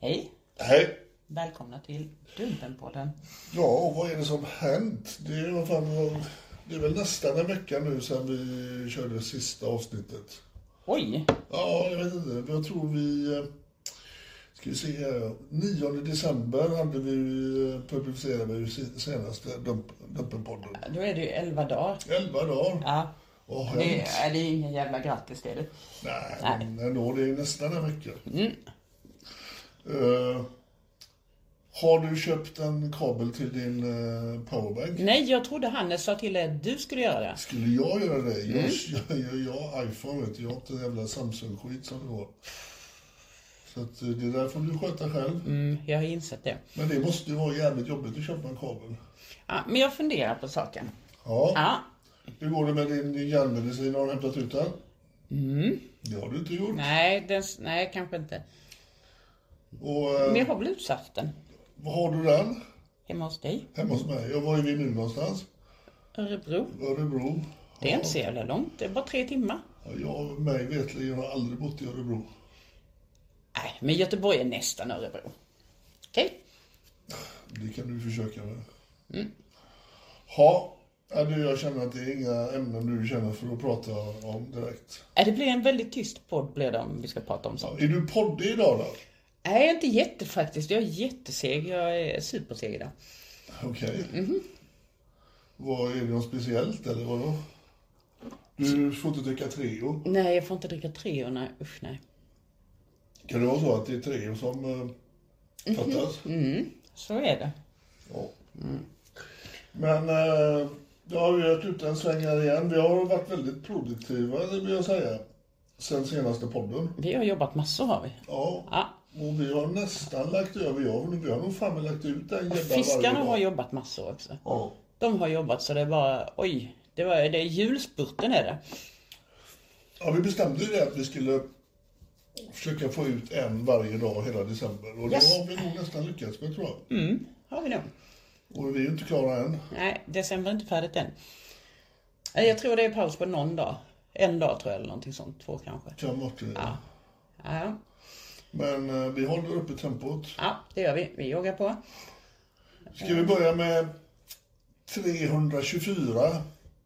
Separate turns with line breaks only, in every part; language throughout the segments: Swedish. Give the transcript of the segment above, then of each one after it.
Hej!
Hej.
Välkomna till Dumpenpodden.
Ja, och vad är det som hänt? Det är, vad fan, vad- det är väl nästan en vecka nu sedan vi körde sista avsnittet.
Oj!
Ja, jag vet inte. Jag tror vi... eh, Ska vi se här. 9 december hade vi eh, publicerade vi ju se- senaste dump, Dumpenpodden.
Då är det ju 11 dagar.
11 dagar.
Ja.
Vad har
Det
hänt?
är, det är ingen jävla grattis det är det.
Nej,
Nej. Mm.
men ändå. Det är nästan en vecka. Eh, har du köpt en kabel till din eh, powerbank?
Nej, jag trodde Hannes sa till dig att du skulle göra det.
Skulle jag göra det? Jag,
Mm.
jag, jag, jag har iPhone, vet du. Jag har inte en jävla Samsung-skit som du har. Så att eh, det där får du sköta själv.
Mm, jag har insett det.
Men det måste ju vara jävligt jobbigt att köpa en kabel.
Ja, men jag funderar på saken.
Ja.
Ja,
Hur går det med din hjärnmedicin? Har du hämtat ut den? Det har du inte gjort.
Mm. nej, den, nej, kanske inte.
Och eh,
Men jag har blutsaften
vad har du den?
hemma hos dig.
Hemma hos mig. Och var är vi nu någonstans?
Örebro.
Örebro.
Det är inte så jävla långt. Det är bara tre timmar.
Ja, jag mig vetligen har aldrig bott i Örebro.
Nej, men Göteborg är nästan Örebro. Okej?
Det kan du försöka med. Ja, Ja, du, jag känner att det är inga ämnen du känner för att prata om direkt.
Ja, Äh, Det blir en väldigt tyst podd blir det om vi ska prata om sånt.
Är du poddig idag då?
Nej, inte jätte faktiskt. Jag är jätteseg. Jag är superseg idag.
Okej. Vad Är det något speciellt eller vadå? Du får inte dricka Treo.
Nej, jag får inte dricka Treo. Nej, usch nej.
Kan det vara så att det är Treo som eh, fattas?
Så är det.
Ja. Men eh, då har vi varit ute en sväng här igen. Vi har varit väldigt produktiva, det vill jag säga. Sen senaste podden.
Vi har jobbat massor har vi.
Ja.
Ja,
Och vi har nästan lagt över, jag och vi har nog fan väl lagt ut den jävla
fiskarna
varje
har
dag.
jobbat massor också.
Ja.
De har jobbat så det är bara, oj. Det, var, det är julspurten är det.
ja, vi bestämde ju det att vi skulle försöka få ut en varje dag hela december. Och
Yes. Mm.
det har vi nog nästan lyckats med tror jag.
Har vi nog.
Och vi är ju inte klara än.
Nej, december är inte färdigt än. Nej, Jag tror det är paus på någon dag. En dag tror jag eller någonting sånt. Två kanske.
Framåt. Ja.
Ja,
Men eh, vi håller uppe tempot.
ja det gör vi. Vi joggar på.
Ska vi börja med 324?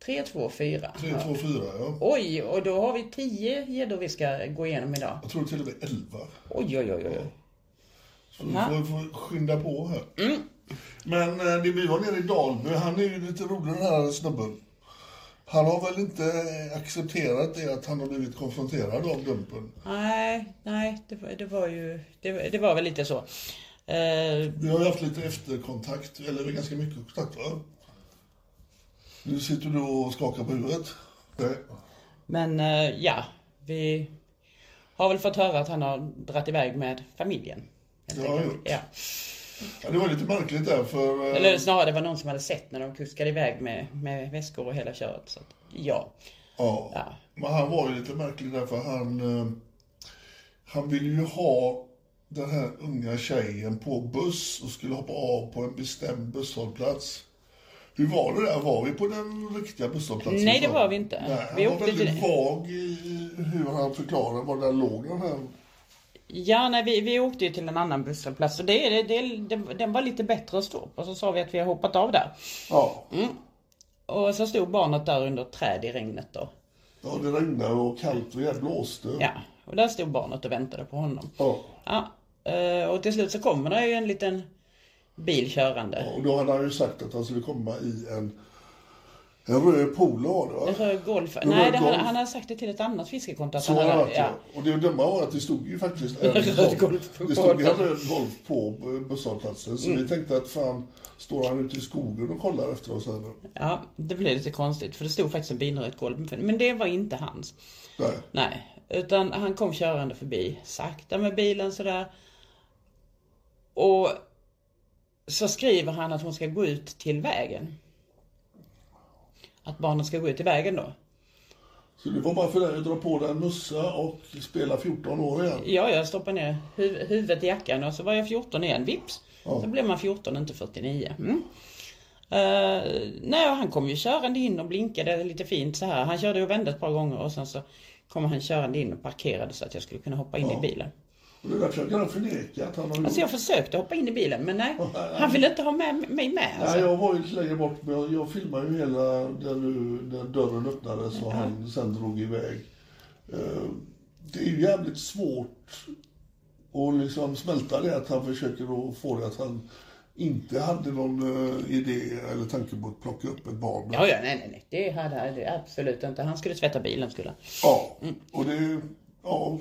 3, 2, 4.
324 ja.
Oj, och då har vi 10 gäddor vi ska gå igenom idag.
Jag tror till och med 11.
Oj, oj, oj, oj.
Så vi får, får skynda på här. Men eh, det vi var nere i Dalby, han är ju lite rolig den här snubben. Han har väl inte eh, accepterat det att han har blivit konfronterad av Dumpen.
Nej, nej, det var, det var ju, det, var- det var väl lite så. Eh,
Vi har ju haft lite efterkontakt, eller ganska mycket kontakt va? Nu sitter du och skakar på huvudet. Nej.
men eh, ja, vi har väl fått höra att han har dratt iväg med familjen. helt
Det har jag
enkelt.
gjort.
Ja.
Ja, det var lite märkligt där för... eh,
Eller snarare, det var någon som hade sett när de kuskade iväg med, med väskor och hela köret. Så att, ja.
Ja. Men han var ju lite märklig därför han... eh, Han ville ju ha den här unga tjejen på buss och skulle hoppa av på en bestämd busshållplats. Hur var det där? Var vi på den riktiga busshållplatsen?
Nej, det var vi inte.
Nej, han
Vi
var
åkte till-
väldigt vag i hur han förklarade var den låg den här.
Ja, nej, vi, vi åkte ju till en annan busshållplats och det, det, det, det, den var lite bättre att stå på. Så sa vi att vi har hoppat av där.
Ja.
Mm. Och så stod barnet där under ett träd i regnet då.
ja, det regnade och kallt och jävla blåste.
Ja, och där stod barnet och väntade på honom.
Ja.
Ja, eh, och till slut så kommer det ju en liten bil körande.
Och då hade han ju sagt att han skulle komma i en, en röd polo var det va?
En röd golf.
En
Nej,
röd
det, han,
golf.
han hade sagt det till ett annat fiskekonto. att
Så
han
har det
hade-
varit, ja. Och det dumma var att det stod ju faktiskt en
Röd
golf.
golf på
det stod en
båten.
röd golf på eh, busshållplatsen. Så vi tänkte att fan, står han ute i skogen och kollar efter oss eller?
Ja, det blev lite konstigt för det stod faktiskt en bilrött golv. Men det var inte hans.
Nej.
Nej, utan han kom körande förbi sakta med bilen sådär. Och så skriver han att hon ska gå ut till vägen. Att barnet ska gå ut till vägen då.
Så det var bara för dig att dra på dig en mössa och spela 14 år igen.
Ja, jag stoppade ner huv- huvudet i jackan och så var jag 14 igen, vips. Så blev man 14, inte 49. Mm. Eh, nej, och han kom ju körande in och blinkade lite fint så här. Han körde och vände ett par gånger och sen så kom han körande in och parkerade så att jag skulle kunna hoppa in i bilen.
Och det där försöker han förneka att han har gjort.
Alltså jag försökte hoppa in i bilen men nej, han ville inte ha med mig med. Alltså.
Nej, jag var ju lite längre bort, men jag, jag filmade ju hela där, nu, där dörren öppnades och han sen drog iväg. Eh, Det är ju jävligt svårt att liksom smälta det att han försöker att få det att han inte hade någon eh, idé eller tanke på att plocka upp ett barn.
Ja, ja, nej, nej, nej. Det hade han det absolut inte. Han skulle tvätta bilen skulle han.
Ja, och det... Ja,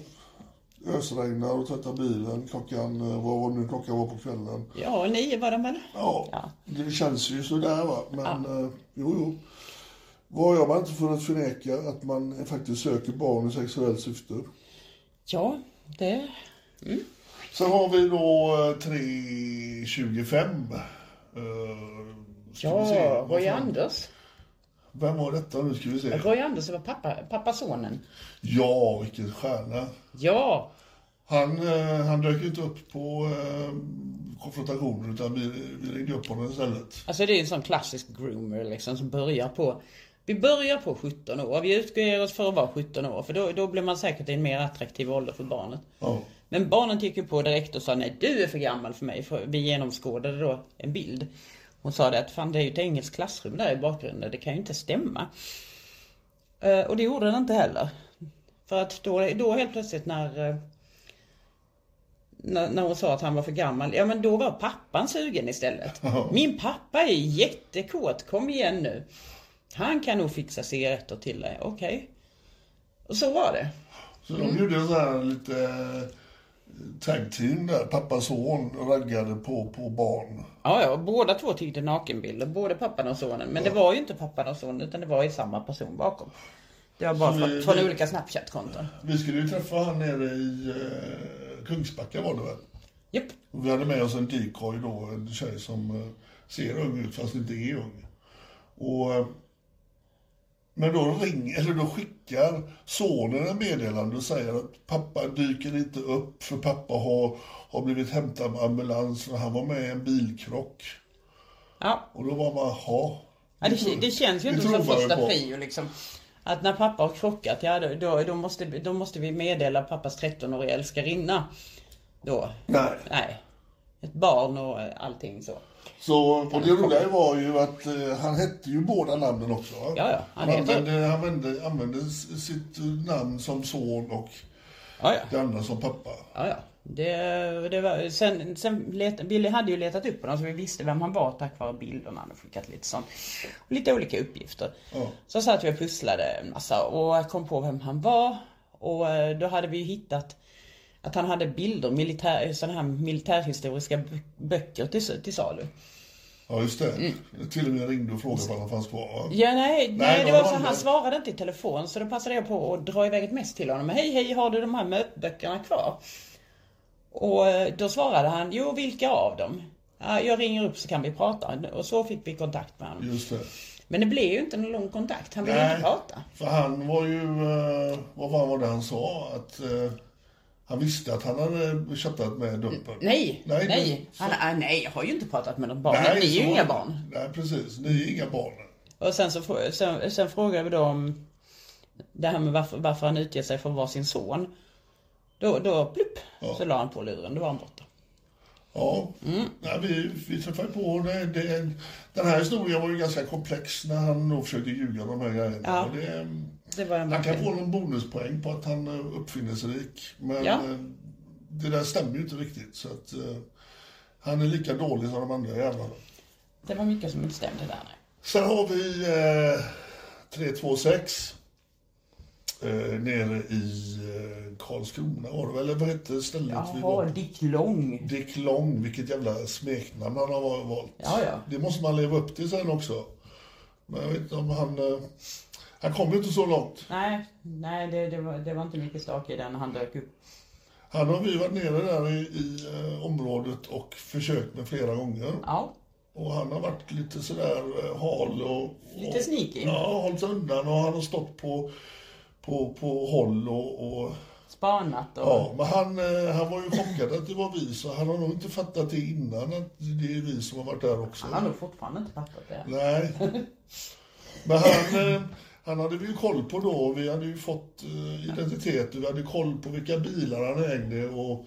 ösregnar och tvättar bilen klockan, eh, vad var nu klockan var på kvällen.
Ja, nio var den väl?
Ja,
Ja.
det känns ju sådär va. Men eh, jo, jo. Vad gör man inte för att förneka att man faktiskt söker barn i sexuellt syfte?
Ja, det...
Sen har vi då eh, 325. Eh, ska vi se.
Ja,
Vad
Roy
fan-
Anders.
Vem var detta nu ska vi se.
Roy Anders var pappa, pappasonen.
Ja, vilken stjärna.
Ja,
Han, eh, han dök ju inte upp på eh, konfrontationen utan vi, vi ringde upp honom istället.
alltså det är en sån klassisk groomer liksom som börjar på... Vi börjar på 17 år. Vi utger oss för att vara 17 år för då, då blir man säkert i en mer attraktiv ålder för barnet.
Ja.
Men barnet gick ju på direkt och sa nej du är för gammal för mig. För vi genomskådade då en bild. Hon sa det att fan det är ju ett engelskt klassrum där i bakgrunden. Det kan ju inte stämma. Eh, och det gjorde den inte heller. För att då, då helt plötsligt när, eh, när när hon sa att han var för gammal. Ja men då var pappan sugen istället. Min pappa är jättekåt. Kom igen nu. Han kan nog fixa cigaretter till dig. Okej. Och så var det.
Så de gjorde en sån här lite eh, tag team där. Pappa och son raggade på, på barn.
Ja, ja, båda två tyckte nakenbilder, både pappan och sonen. Men det var ju inte pappan och sonen utan det var ju samma person bakom. Det var bara
Så
från,
vi-
från
vi-
olika Snapchat-konton.
Vi skulle ju träffa han nere i eh, Kungsbacka var det väl?
Japp.
Och vi hade med oss en decoy då, en tjej som eh, ser ung ut fast inte är ung. Och, eh, men då, ring, eller då skickar sonen en meddelande och säger att pappa dyker inte upp för pappa har, har blivit hämtad med ambulans för han var med i en bilkrock.
Ja,
Och då var man, jaha.
ja det, det känns ju
det
inte som
tror man
första
på.
prio liksom. Att när pappa har krockat, ja då, då, då, måste, då måste vi meddela pappas 13-åriga älskarinna. Då.
Nej.
Nej. Ett barn och allting så.
Så, och det roliga var ju att eh, han hette ju båda namnen också. va?
Ja, ja, han
Han,
heter-
använde, han använde, använde s- sitt eh, namn som son och
Ja, ja.
det andra som pappa.
Ja, ja. Det, det var, sen sen let, Billy hade ju letat upp honom så vi visste vem han var tack vare bilderna. Han hade skickat lite sånt. Och lite olika uppgifter.
Ja.
Så satt vi och pusslade en massa och jag kom på vem han var. Och eh, då hade vi ju hittat att han hade bilder, militär, sådana här militärhistoriska bö- böcker till, till salu.
Ja, just det. Till och med ringde och frågade om han fanns kvar. va?
Mm. Ja, nej, nej,
Nej,
det
då
var
var
så
han
han
där.
svarade inte i telefon så då passade jag på att dra iväg ett mess till honom. Hej, hej, har du de här mötböckerna kvar? Och eh, då svarade han, jo vilka av dem? Ja, jag ringer upp så kan vi prata. Och så fick vi kontakt med honom.
Just det.
Men det blev ju inte någon lång kontakt, han ville
Nej.
inte prata.
För han var ju, eh, vad fan var det han sa? Att eh, han visste att han hade chattat med Dumpen.
Nej, nej.
Nej, det-
Han, ah, nej, jag har ju inte pratat med något barn.
Nej,
ni är
så-
ju inga barn.
Nej, precis. Ni är inga barn.
Och sen så frå- sen, sen frågade vi då om det här med varför, varför han utger sig för att vara sin son. Då, då plupp, så la han på luren. Då var han borta.
Ja,
Mm.
Nej, vi, vi träffade på det, det. Den här historien var ju ganska komplex när han då försökte ljuga om de här grejerna.
Ja.
Och det,
Det var en
han kan
verkligen.
få någon bonuspoäng på att han är uppfinningsrik. Men
Ja.
eh, det där stämmer ju inte riktigt. Så att, eh, han är lika dålig som de andra jävlarna.
Det var mycket som inte stämde där. Nej.
Sen har vi eh, 326. Eh, nere i eh, Karlskrona var det väl? Eller vad hette stället vi var
Jaha,
på?
Dick Lång.
Dick Long, vilket jävla smeknamn han har valt.
Ja, ja.
Det måste man leva upp till sen också. Men jag vet inte om han... eh, Han kom ju inte så långt.
Nej, nej det, det, var, det var inte mycket stake i den när han dök upp.
Han har vi varit nere där i, i eh, området och försökt med flera gånger.
Ja,
Och han har varit lite sådär eh, hal och...
Lite
och-
sneaky.
Ja, hållit sig undan och han har stått på, på, på håll och... och
spanat och...
Ja, men han, eh, han var ju chockad att det var vi, så han har nog inte fattat det innan att det är vi som har varit där också.
Han har nog fortfarande inte fattat det.
Nej. Men han, eh, han hade vi ju koll på då. Vi hade ju fått eh, identitet och vi hade koll på vilka bilar han ägde. Och,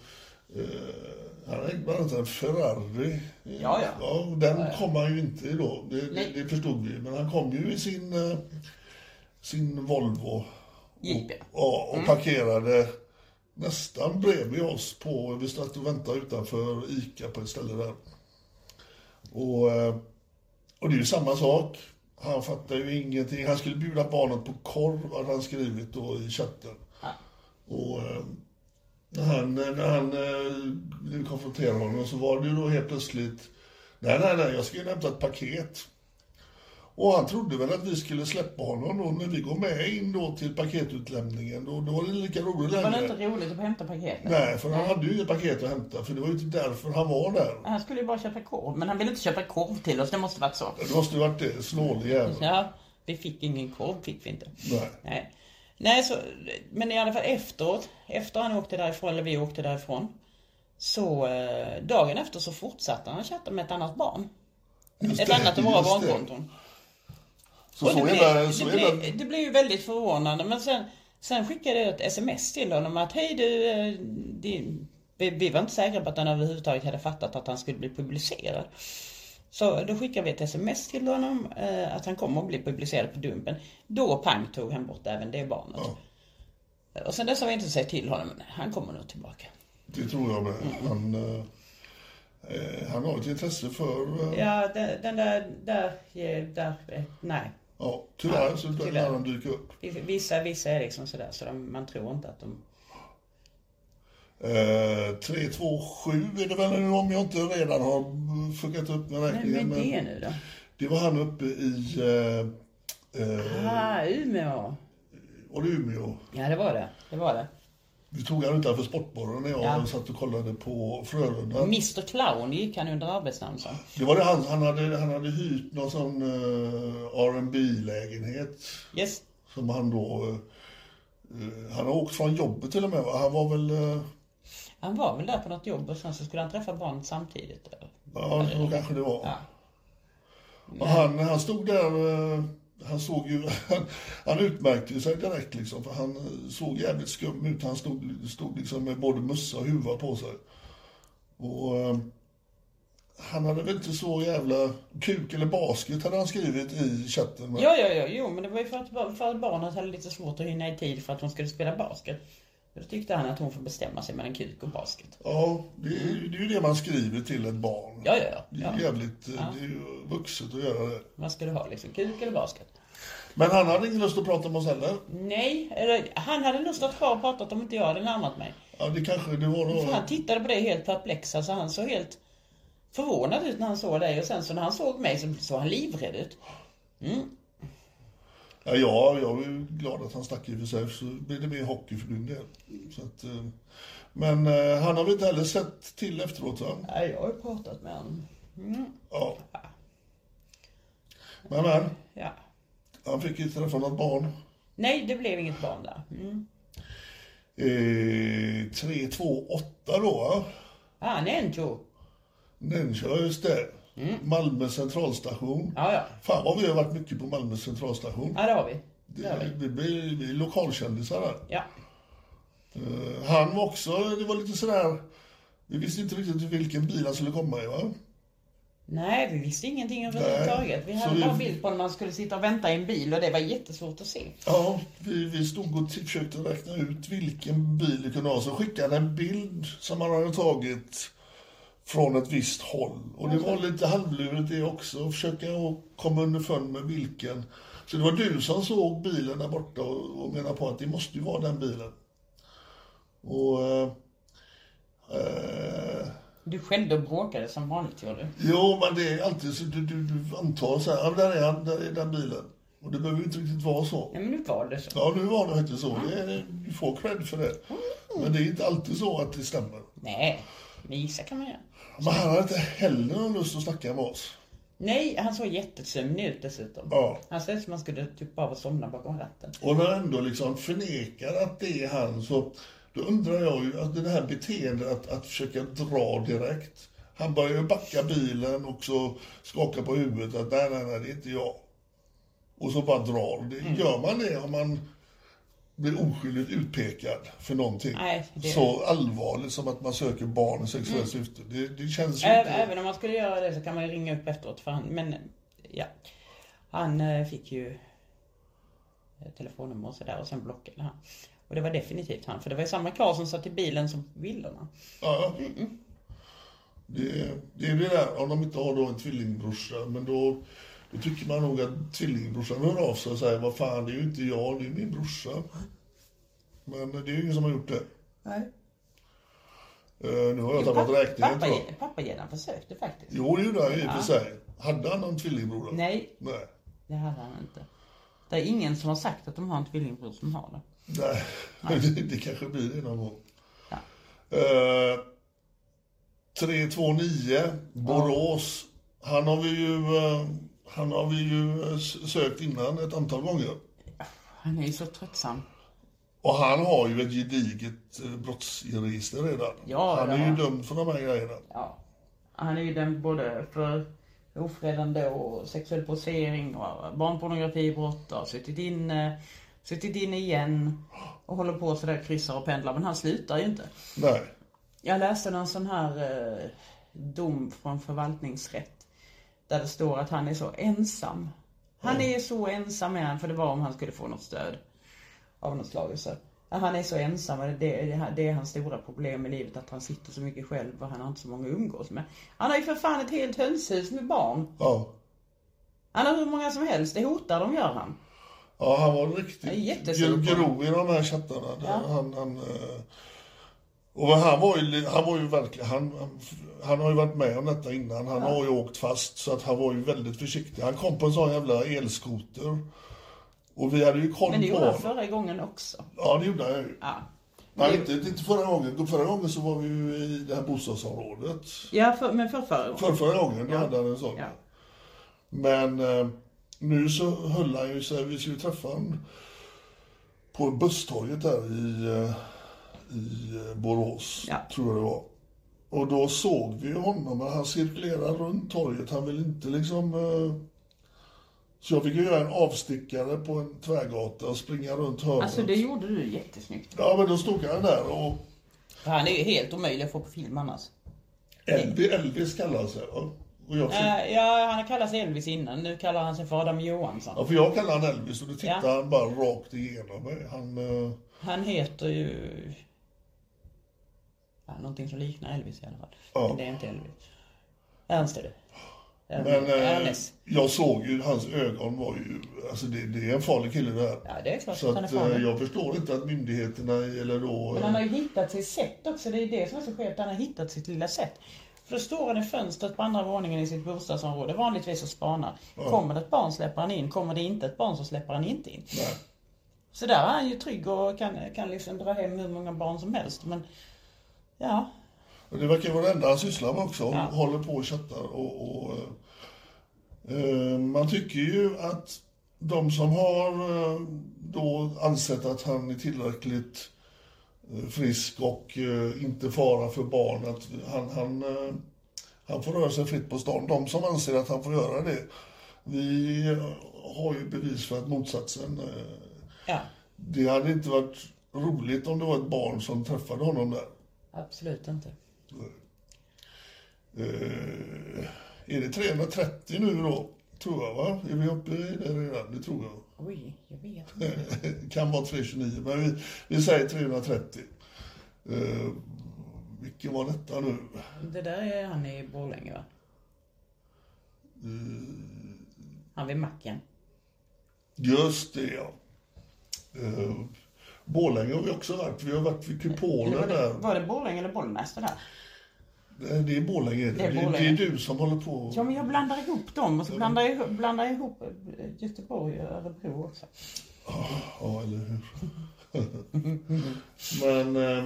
eh, han ägde bland annat en Ferrari.
Ja, ja.
och den kom han ju inte i då. Det, det,
Nej.
det förstod vi. Men han kom ju i sin, eh, sin Volvo.
Jeep, ja.
Ja, och parkerade nästan bredvid oss. på Vi satt och väntade utanför ICA på ett ställe där. Och, eh, och det är ju samma sak. Han fattar ju ingenting. Han skulle bjuda barnet på korv, hade han skrivit då i chatten. Och eh, när han, när han eh, blev konfronterad med honom så var det ju då helt plötsligt Nej, nej, nej, jag ska ju hämta ett paket. Och han trodde väl att vi skulle släppa honom då. När vi går med in då till paketutlämningen, då, då var det lika roligt
Var
längre.
det inte roligt att hämta paketet?
Nej, för han hade ju inget paket att hämta, för det var ju inte därför han var där.
Han skulle ju bara köpa korv, men han ville inte köpa korv till oss. Det måste varit så.
Det måste ju varit det, snålig jävel.
Ja, vi fick ingen korv, fick vi inte.
Nej.
Nej. Nej, så, men i alla fall efteråt, efter han åkte därifrån, eller vi åkte därifrån, så eh, dagen efter så fortsatte han att chatta med ett annat barn.
Just
ett
det,
annat av våra
just det.
barnkonton.
Så,
Och
så
det,
jävla...
blev,
Så
det,
jävla...
blev, det blev ju väldigt förvånande, men sen, sen skickade jag ett sms till honom att hej du, eh, din, vi, vi var inte säkra på att han överhuvudtaget hade fattat att han skulle bli publicerad. Så då skickade vi ett sms till honom eh, att han kommer att bli publicerad på Dumpen. Då pang tog han bort även det barnet. Och sen dess har vi inte sett till honom. men Han kommer nog tillbaka.
Det tror jag med. Han, eh, eh, han har ett intresse för... Eh,
Ja, den, den där, där, eh, där, eh, nej.
Ja, tyvärr
Ja,
så börjar
tyvärr.
han dyka upp.
Vissa, vissa är liksom sådär så de, man tror inte att de...
Eh, 327 är det väl nu om jag inte redan har fuckat upp med
Vem är
räkningen.
det nu då?
det var han uppe i... Eh, eh,
Ah, Umeå.
var det Umeå?
Ja, det var det. Det var det.
Vi tog han utanför sportbaren när jag
Ja.
satt och kollade på Frölunda.
Mr Clown gick han under arbetsnamn som.
Det var det han, han, hade, han hade hyrt någon sån eh, rb lägenhet
Yes.
som han då... eh, eh, han har åkt från jobbet till och med. va? Han var väl... Eh,
Han var väl där på något jobb och sen så skulle han träffa barnet samtidigt.
Ja, så kanske det var. Och han, han stod där, eh, han såg ju, han, han utmärkte ju sig direkt liksom, för han eh, såg jävligt skum ut. Han stod, stod liksom med både mössa och huva på sig. Och eh, han hade väl inte så jävla, kuk eller basket hade han skrivit i chatten. men-
Ja, ja, ja, jo, men det var ju för att, för att barnet hade lite svårt att hinna i tid för att hon skulle spela basket. Då tyckte han att hon får bestämma sig mellan kuk och basket.
Ja, det, är ju- det är ju det man skriver till ett barn.
Ja, ja,
Det
ja.
är ju
ja.
jävligt, eh, det är ju vuxet att göra det.
Vad ska du ha liksom? Kuk eller basket?
Men han hade ingen lust att prata med oss heller.
Nej, eller han hade nog stått kvar och pratat om inte jag hade närmat mig.
Ja, det kanske det var då.
För han tittade på dig helt perplex, alltså han såg helt förvånad ut när han såg dig och sen så när han såg mig så såg han livrädd ut.
Ja, ja, jag är ju glad att han stack i och för sig, så blir det mer hockey för min del. Så att, eh, Men eh, han har vi inte heller sett till efteråt va?
Nej, jag har ju pratat med honom.
Ja. Men men,
Ja.
han fick ju träffa något barn.
Nej, det blev inget barn där. Mm.
Eh, 328 då va?
Ah, Nenjo.
Den kör just det. Malmö centralstation.
Mm. Ja, ja.
Fan vad vi har varit mycket på Malmö centralstation.
Ja, det har vi. Det har
Det,
vi.
vi, blir, vi är lokalkändisar där.
Ja.
Eh, Han var också, det var lite sådär, vi visste inte riktigt vilken bil han skulle komma i va?
Nej, vi visste ingenting överhuvudtaget. Vi
Så
hade
vi-
bara bild på när man skulle sitta och vänta i en bil och det var jättesvårt att se.
Ja, vi, vi stod och t- försökte räkna ut vilken bil det kunde ha. Så skickade han en bild som han hade tagit från ett visst håll. Och det var lite halvlurigt det också, att försöka att komma underfund med vilken. Så det var du som såg bilen där borta och, och menade på att det måste ju vara den bilen. Och... Eh, eh,
Du skällde och bråkade som vanligt gjorde du.
Jo, men det är alltid så du, du, du antar så här, ja, där är han, där är den bilen. Och det behöver ju inte riktigt vara så.
Nej, men nu var det så.
Ja, nu var det faktiskt så. Det är, du får cred för det. Men det är inte alltid så att det stämmer.
Nej, men gissa kan man göra.
Men han hade inte heller någon lust att snacka med oss.
Nej, han såg jättesömnig ut dessutom.
Ja.
Han såg ut som han skulle typ bara somna bakom ratten.
Och när han ändå liksom förnekar att det är han så då undrar jag ju att det här beteendet att, att försöka dra direkt. Han börjar ju backa bilen och så skaka på huvudet att nej, nej, nej, det är inte jag. Och så bara drar. Det,
Mm.
Gör man det om man blir oskyldigt utpekad för någonting
Nej, det- Mm.
så allvarligt som att man söker barn i sexuellt syfte. Det, det känns ju
Ä-
inte...
Även om man skulle göra det så kan man ju ringa upp efteråt för han, men ja. Han eh, fick ju eh, telefonnummer och sådär och sen blockade han. Och det var definitivt han, för det var ju samma karl som satt i bilen som villorna.
Ja. Det, det är det där, om de inte har då en tvillingbrorsa, men då, då tycker man nog att tvillingbrorsan hör av sig och säger vad fan, det är ju inte jag, det är min brorsa. Men det är ju ingen som har gjort det.
Nej.
Eh, nu har jag tappat räkningen
pappa,
tror jag.
Pappagäddan försökte faktiskt.
Jo, det gjorde han ju i och för sig. Hade han någon tvillingbror? då?
Nej,
Nej.
det hade han inte. Det är ingen som har sagt att de har en tvillingbror som har det.
Nej, det, det kanske blir det någon gång.
Ja.
Eh, 329, Borås. Han har vi ju, eh, han har vi ju eh, s- sökt innan ett antal gånger.
Han är ju så tröttsam.
Och han har ju ett gediget eh, brottsregister redan.
Ja,
han
det
är
har
ju
han.
dömd för de här grejerna.
Ja. Han är ju den både för ofredande och sexuell posering och barnpornografibrott och har suttit inne, suttit inne igen och håller på sådär kryssar och pendlar men han slutar ju inte.
Nej.
Jag läste någon sån här eh, dom från förvaltningsrätt där det står att han är så ensam. Han är så ensam är han, för det var om han skulle få något stöd av något slag. Så. att Han är så ensam, och det, det, det är hans stora problem i livet att han sitter så mycket själv och han har inte så många att umgås med. Han har ju för fan ett helt hönshus med barn.
Ja.
Han har hur många som helst, det hotar de gör han.
Ja, han var
Jag är
riktigt
jättesur
gro-
på
grov i de här chattarna. Det- Han, han, eh, och han var ju, li- han var ju verkligen, han, han- han har ju varit med om detta innan. Han har ju åkt fast så att han var ju väldigt försiktig. Han kom på en sån jävla elskoter. Och vi hade ju koll
Men det
på
gjorde han
honom.
förra gången också.
Ja, det gjorde han ju.
Ja.
Nej,
Det-
inte, inte förra gången. Förra gången så var vi ju i det här bostadsområdet.
Ja, för, men för förra gången.
För förra gången, då hade han en sån.
Ja.
Men eh, nu så höll han ju sig, vi skulle träffa honom på busstorget där i, eh, i eh, Borås,
Ja.
tror jag det var. Och då såg vi honom, men han cirkulerade runt torget. Han ville inte liksom... Eh, så jag fick ju göra en avstickare på en tvärgata och springa runt hörnet.
Alltså det gjorde du jättesnyggt.
Ja, men då stod han där och
För han är ju helt omöjlig att få på film annars.
Elvis, Elvis kallade han sig. va? Och jag fick,
Eh, ja, han har kallat sig Elvis innan. Nu kallar han sig för Adam Johansson.
ja, för jag kallade han Elvis och då tittade
Ja. Mm.
han bara rakt igenom mig. Han... Eh,
Han heter ju... Ja, någonting som liknar Elvis i alla fall. Men det är inte Elvis. Ernst är det.
Men eh,
Ernest.
jag såg ju, hans ögon var ju, alltså det, det är en farlig kille det här.
Ja, det är klart
Så
att han är
att, eh,
farlig.
jag förstår inte att myndigheterna, eller då...
Men
eh,
han har ju hittat sitt sätt också. Det är det som är så skevt. Han har hittat sitt lilla sätt. För då står han i fönstret på andra våningen i sitt bostadsområde vanligtvis och spanar. Kommer det ett barn släpper han in. Kommer det inte ett barn så släpper han inte in.
nej.
Så där är han ju trygg och kan, kan liksom dra hem hur många barn som helst. Men Ja.
Och det verkar ju vara det enda han sysslar med också. Han Håller på och chattar och... och eh, man tycker ju att de som har eh, då ansett att han är tillräckligt eh, frisk och eh, inte fara för barn, att han, han, eh, han får röra sig fritt på stan. De som anser att han får göra det, vi har ju bevis för att motsatsen eh,
Ja.
det hade inte varit roligt om det var ett barn som träffade honom där.
Absolut inte.
Eh, är det 330 nu då? Tror jag va? Är vi uppe i det redan? Det tror jag.
Oj, jag vet inte.
kan vara 329 men vi, vi säger 330. Eh, vilken var detta nu?
Det där är han i Borlänge va? Han vid macken.
Just det ja. Eh, Borlänge har vi också varit. Vi har varit vid
Eller
kupolen
var, det,
där.
var det Borlänge eller Bollnäs det där?
Nej, Det är Borlänge det.
Det
Det
är
är, det,
Borlänge.
är du som håller på.
Ja men jag blandar ihop dem och så blandar jag ihop, blandar jag ihop eh, Göteborg och Örebro också.
Ja, eller hur? Men... Eh,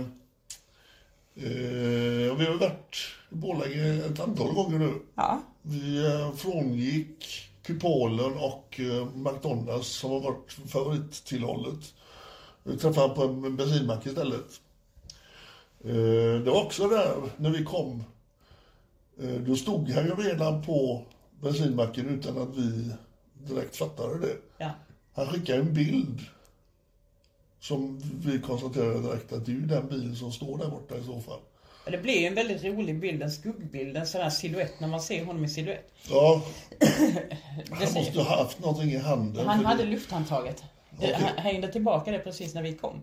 eh, vi har varit i Borlänge ett antal gånger nu.
Ja,
Vi eh, frångick Kupolen och eh, McDonalds som har varit favorittillhållet. Vi träffade på en bensinmack istället. Eh, det var också där när vi kom. Eh, då stod han ju redan på bensinmacken utan att vi direkt fattade det.
ja.
Han skickade en bild som vi konstaterade direkt att det är ju den bilen som står där borta i så fall.
Och Det blir ju en väldigt rolig bild, en skuggbild, en sån här silhuett när man ser honom i silhuett.
Ja,
Det
han
ser-
måste ha haft någonting i handen.
Han
för
hade
det-
lufthandtaget. Det-
Okej.
Han hängde tillbaka det precis när vi kom.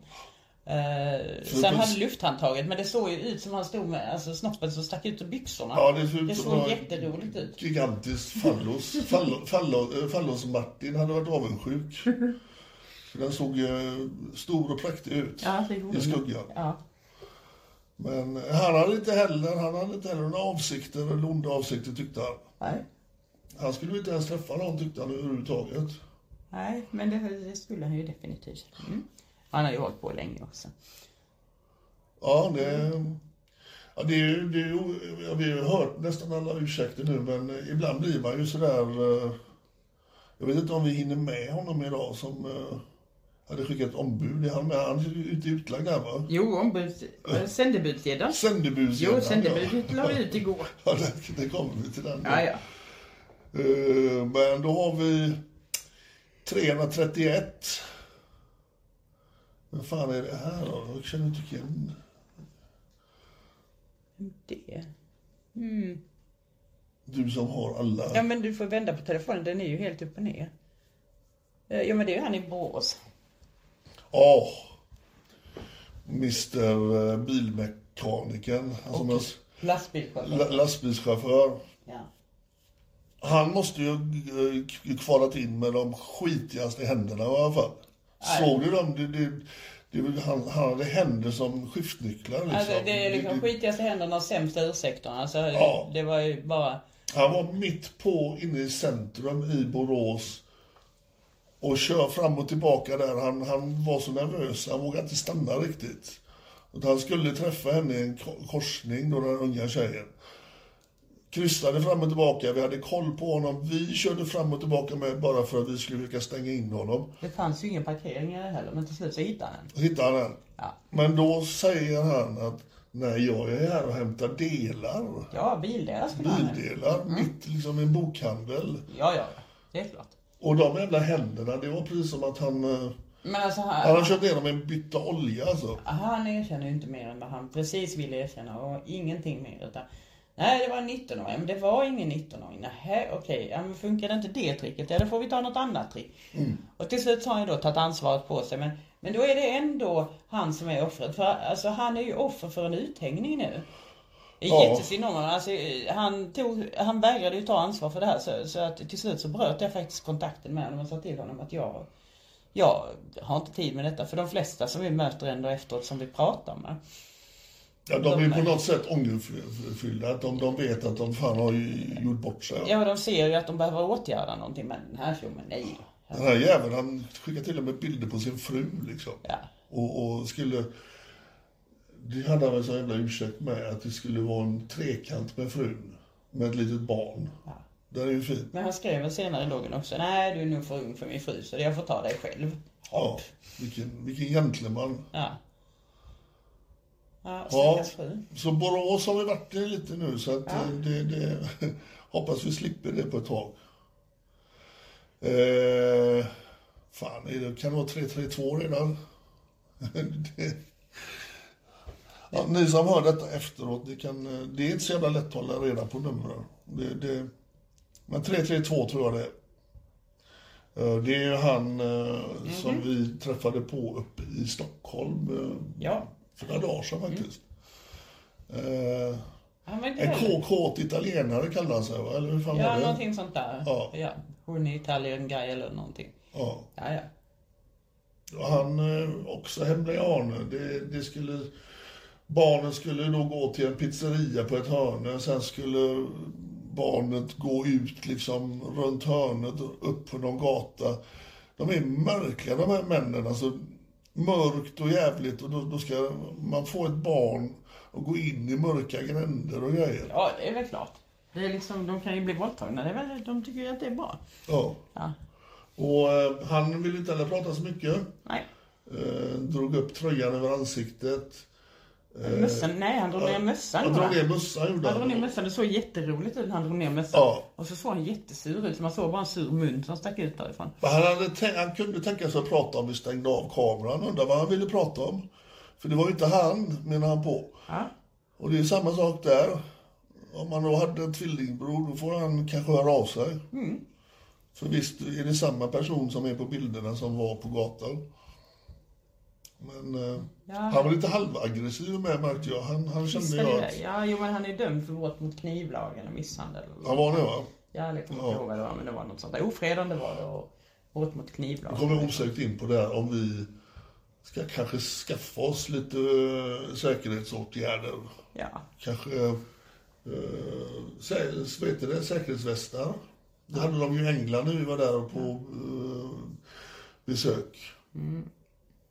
Eh, så han
precis-
hade lufthandtaget men det såg ju ut som han stod med alltså, snoppen som stack ut ur byxorna.
Ja, det såg ut
det
som
såg
en-
jätteroligt ut.
Gigantisk fallos. Fallo- fallo- eh, Fallos-Martin hade varit avundsjuk. För Den såg eh, stor och präktig ut
Ja, det gjorde
i
den.
skuggan.
Ja.
Men han hade inte heller, han hade inte heller några avsikter eller onda avsikter tyckte han.
Nej.
Han skulle ju inte ens träffa någon tyckte han överhuvudtaget.
Nej, men det, det skulle han ju definitivt. Mm. Han har ju hållit på länge också.
Ja, det... Ja, det är ju, det är ju, ja, vi har ju hört nästan alla ursäkter nu, men ibland blir man ju sådär... eh, Jag vet inte om vi hinner med honom idag som eh, hade skickat ombud. Är han med? Han är ju ute utlagd där, va?
Jo, ombud, eh, sändebudsledaren.
Sändebudsledaren.
Jo, sändebudet la vi ut igår.
Ja, det, det kommer vi till den.
Ja, ja.
Eh, Men då har vi 331. Vad fan är det här då? Jag känner inte igen.
Det.
Du som har alla.
Ja, men du får vända på telefonen. Den är ju helt upp och ner. Eh, Ja, men det är ju han i Borås.
Ja. Mr eh, Bilmekanikern, alltså okay.
Lastbilschaufför.
lastbilschaufför.
Ja.
Han måste ju eh, k- kvalat in med de skitigaste händerna i alla fall. Såg du dem? Det, det, det, är väl- han, han hade händer som skiftnycklar. Liksom.
Alltså, det är liksom
Det- det-
skitigaste händerna och sämsta ursäkterna. Alltså,
Ja.
Det var ju bara...
Han var mitt på inne i centrum i Borås och kör fram och tillbaka där. Han, han var så nervös, han vågade inte stanna riktigt. Utan Han skulle träffa henne i en ko- korsning, då den unga tjejen. Kryssade fram och tillbaka, vi hade koll på honom. Vi körde fram och tillbaka med bara för att vi skulle försöka stänga in honom.
Det fanns ju ingen parkering här heller, men till slut så hittade han den.
Så hittade han den.
Ja.
Men då säger han att nej, jag är här och hämtar delar.
Ja, bildelar skulle han ha.
Bildelar, mitt liksom i en bokhandel.
Ja, ja. Det är klart.
Och de jävla händerna, det var precis som att han... eh,
Men alltså,
Han
han,
har kört ner dem i en bytta olja alltså.
han erkänner ju inte mer än vad han precis ville erkänna och ingenting mer. Utan, nej, det var en 19-åring. Men det var ingen 19-åring. Nähä, okej. Ja, men funkar det inte det tricket, ja, då får vi ta något annat trick. Och till slut så har han ju då tagit ansvaret på sig. Men, men då är det ändå han som är offret. För alltså, han är ju offer för en uthängning nu. Det är
Ja.
jättesynd om honom. Alltså, han, tog, han vägrade ju ta ansvar för det här så, så att till slut så bröt jag faktiskt kontakten med honom och sa till honom att jag, jag har inte tid med detta. För de flesta som vi möter ändå efteråt som vi pratar med.
Ja, de är på något sätt ångerfyllda. Att de, de vet att de fan har ju gjort bort sig.
Ja, de ser ju att de behöver åtgärda någonting men den här tjommen, nej.
Den här jäveln, han skickar till och med bilder på sin fru liksom.
Ja.
Och, och skulle... Det hade han väl så jävla ursäkt med, att det skulle vara en trekant med frun. Med ett litet barn. Det är ju fint.
Men han skrev väl senare i loggen också, nej du är nog för ung för min fru så jag får ta dig själv.
Ja, vilken, vilken gentleman.
Ja. Ja, och
Ja,
stackars fru.
så Borås har vi varit i lite nu så att eh, det, det, hoppas vi slipper det på ett tag. Eh, fan, är det, kan det vara 332 redan? det, ja, ni som hör detta efteråt, det, kan, eh, det är inte så jävla lätt att hålla reda på numren. Det, det, men 332 tror jag det är. Eh, Det är ju han eh, som vi träffade på uppe i Stockholm eh,
Ja,
för några dagar sedan faktiskt.
Mm.
Eh,
han var inte
en
heller...
kåt italienare kallade han sig va? Eller hur fan var
Mm. Ja,
det?
någonting sånt där.
Ja.
ja. Hon är Italian guy eller någonting.
Ja.
Ja, ja.
Och Han eh, också hemliga anor. Det, det skulle... Barnen skulle då gå till en pizzeria på ett hörn. Sen skulle barnet gå ut liksom runt hörnet och upp på någon gata. De är märkliga de här männen. Alltså, mörkt och jävligt och då, då ska man få ett barn och gå in i mörka gränder och grejer.
Ja, det är väl klart. Det är liksom, de kan ju bli våldtagna. Det är väl, de tycker ju att det är bra.
Ja.
Ja.
Och eh, han ville inte heller prata så mycket.
Nej.
Eh, drog upp tröjan över ansiktet.
Mössan, nej han drog ner mössan.
Eh, Han
va?
drog ner mössan gjorde
Han drog ner
han.
mössan. Det såg jätteroligt ut när han drog ner mössan.
Ja.
Och så såg han jättesur ut. så Man såg bara en sur mun som stack ut därifrån.
Men Han, hade tän- han kunde tänka sig att prata om vi stängde av kameran. Undrar vad han ville prata om. För det var ju inte han, menar han på.
Ja.
Och det är samma sak där. Om man då hade en tvillingbror, då får han kanske höra av sig.
Mm.
För visst är det samma person som är på bilderna som var på gatan. Men eh, han var lite halvaggressiv med märkte jag. Han, han kände
Visst är
jag
det
att...
det? Ja, jo, men han är dömd för brott mot knivlagen och misshandel.
Han var det va?
Ja, jag kommer
Ja.
inte ihåg vad det var, men det var något sånt där. Ofredande var det och brott mot
Då
knivlagen.
kommer jag osökt in på det här om vi ska kanske skaffa oss lite eh, säkerhetsåtgärder.
Ja.
Kanske, eh, sä- vad heter det, säkerhetsvästar. Det hade de ju i England när vi var där på eh, besök.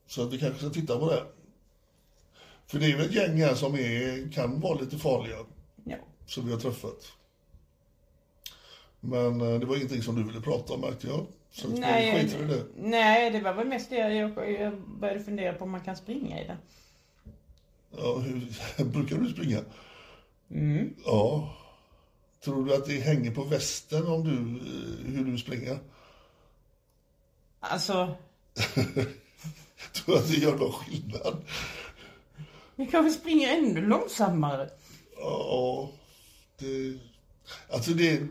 Så att vi kanske ska titta på det. För det är väl ett gäng här som är, kan vara lite farliga,
ja.
som vi har träffat. Men eh, det var ingenting som du ville prata om märkte jag. Så att vi skiter i det.
nej, det var väl mest det jag, jag började fundera på om man kan springa i den.
Ja, hur, brukar du springa? Ja. Tror du att det hänger på västen om du, eh, hur du springer?
Alltså,
Tror du att det gör någon skillnad?
jag kanske springer ännu långsammare.
Ja. Det, alltså det...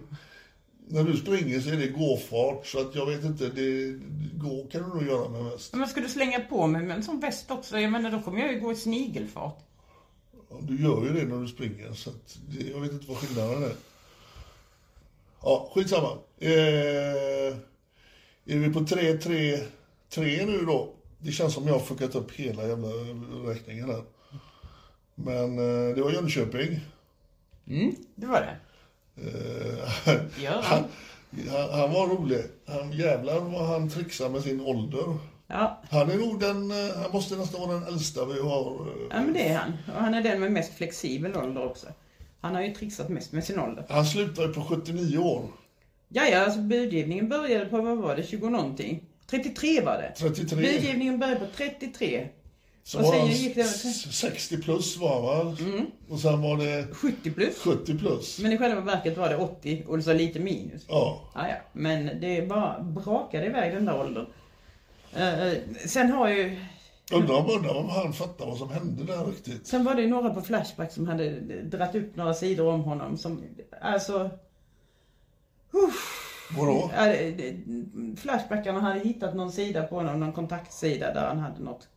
När du springer så är det gåfart, så att jag vet inte. Det, gå kan du nog göra med väst.
Men ska du slänga på mig med en sån väst också? Jag menar, då kommer jag ju gå i snigelfart.
Ja, Du gör ju det när du springer, så att det, jag vet inte vad skillnaden är. Ja, skitsamma. Eh, är vi på 3-3-3 nu då? Det känns som jag har fuckat upp hela jävla räkningen här. Men eh, det var Jönköping.
Det var det.
Eh,
Gör
han,
han?
han, han var rolig. Han, jävlar vad han trixar med sin ålder.
Ja.
Han är nog den, eh, han måste nästan vara den äldsta vi har. eh,
ja, men det är han. Och han är den med mest flexibel ålder också. Han har ju trixat mest med sin ålder.
Han slutar ju på 79 år.
Ja, ja, alltså budgivningen började på, vad var det, 20 någonting? 33 var det.
33.
Budgivningen började på 33.
Så
Och
var
sen
han
gick det-
s- 60 plus var han va? Och sen var det
70 plus.
70 plus.
Mm. Men i själva verket var det 80 och så lite minus.
Ja.
Ja, ja. Men det bara brakade iväg den där åldern. Eh, eh, sen har ju...
Undrar om, undrar om han fattar vad som hände där riktigt.
Sen var det ju några på Flashback som hade dratt upp några sidor om honom som... Alltså...
Vadå?
Ja, det- det- Flashbackarna hade hittat någon sida på honom, någon kontaktsida där han hade något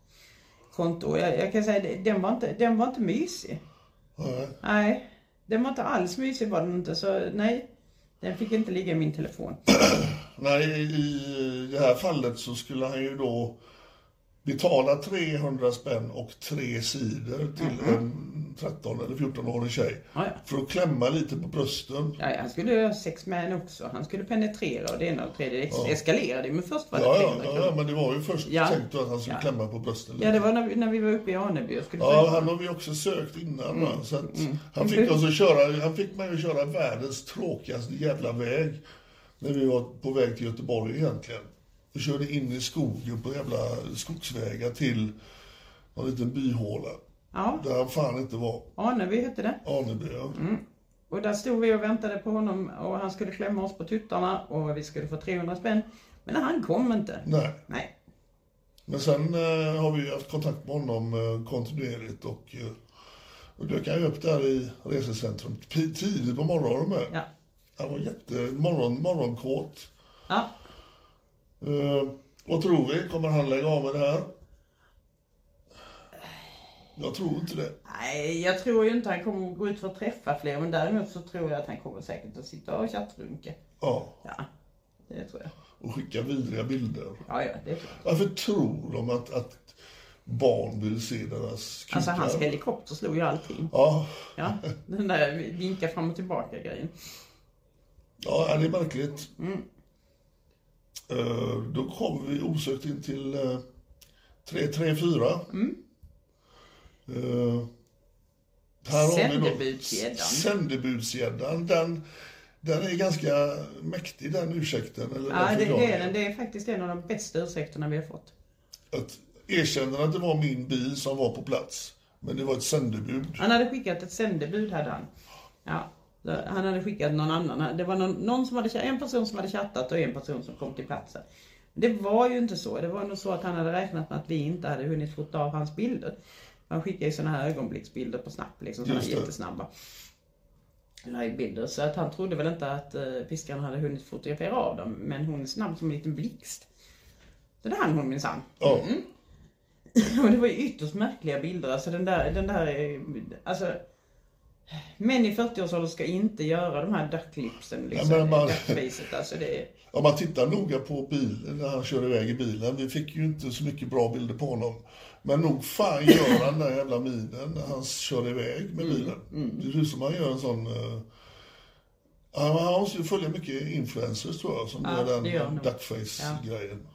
konto. Jag, jag kan säga det- den var inte, den var inte mysig.
Nej.
Nej, den var inte alls mysig var den inte. Så nej, den fick inte ligga i min telefon.
Nej, i det här fallet så skulle han ju då betala 300 spänn och tre sidor till en 13 eller 14-årig tjej.
Mm. Ja, ja.
För att klämma lite på brösten.
Nej, han skulle ha sex med henne också. Han skulle penetrera och det ena och det tredje. Det ex- eskalerade ju, men först var det
Ja, ja,
300
ja,
kronor.
ja, men det var ju först
Ja.
tänkt att han skulle
Ja.
klämma på brösten lite.
Ja, det var när vi, när vi var uppe i Aneby och skulle
Ja,
ta-
han har vi också sökt innan.
Mm.
va, Så att han, fick oss att köra, han fick mig att köra världens tråkigaste jävla väg. När vi var på väg till Göteborg egentligen. Vi körde in i skogen på jävla skogsvägar till en liten byhåla.
ja, Mm.
Där han fan inte var.
Aneby hette det.
Aneby, ja.
Och där stod vi och väntade på honom och han skulle klämma oss på tuttarna och vi skulle få 300 spänn. Men han kom inte.
Nej.
Nej.
Men sen eh, har vi ju haft kontakt med honom eh, kontinuerligt och, eh, och dök han ju upp där i resecentrum t- tidigt på morgonen med.
Ja.
Han var jätte morgon, morgonkåt.
Ja.
Eh, vad tror vi? Kommer han lägga av med det här? Jag tror inte det.
Nej, jag tror ju inte han kommer att gå ut för att träffa fler men däremot så tror jag att han kommer säkert att sitta och chattrunka.
Ja,
Ja, det tror jag.
och skicka vidriga bilder.
Ja, ja, det tror jag.
Varför tror de att, att barn vill se deras kukar?
Alltså hans helikopter slog ju allting.
ja,
Ja, den där vinka fram och tillbaka grejen.
ja, det är märkligt. Eh, då kommer vi osökt in till eh, 334.
Mm.
Eh, här har vi då-
Sändebudsgäddan.
Sändebudsgäddan. Den, den är ganska mäktig den ursäkten. Eller
Ja,
den
det, det är
förklaringen.
den. Det är faktiskt en av de bästa ursäkterna vi har fått.
Att erkänner att det var min bil som var på plats. Men det var ett sändebud.
Han hade skickat ett sändebud hade han. Ja, så han hade skickat någon annan. Det var någon, någon som hade, chatt- en person som hade chattat och en person som kom till platsen. Det var ju inte så. Det var nog så att han hade räknat med att vi inte hade hunnit fota av hans bilder. Han skickar ju sådana här ögonblicksbilder på Snap, liksom sådana
Just det.
jättesnabba livebilder. Så att han trodde väl inte att eh, piskaren hade hunnit fotografera av dem. Men hon är snabb som en liten blixt. Så det hann hon minsann.
Ja.
Och det var ju ytterst märkliga bilder. Alltså den där, den där, eh, alltså. Män i 40-årsåldern ska inte göra de här ducklipsen liksom.
Ja, men man-
Duckfacet alltså det är...
Om man tittar noga på bilen när han kör iväg i bilen. Vi fick ju inte så mycket bra bilder på honom. Men nog fan gör han den jävla minen när han kör iväg
Mm.
med bilen. Det ser ut som han gör en sån... eh, han, han måste ju följa mycket influencers tror jag som
Ja,
gör den
det gör han nog.
duckface-grejen.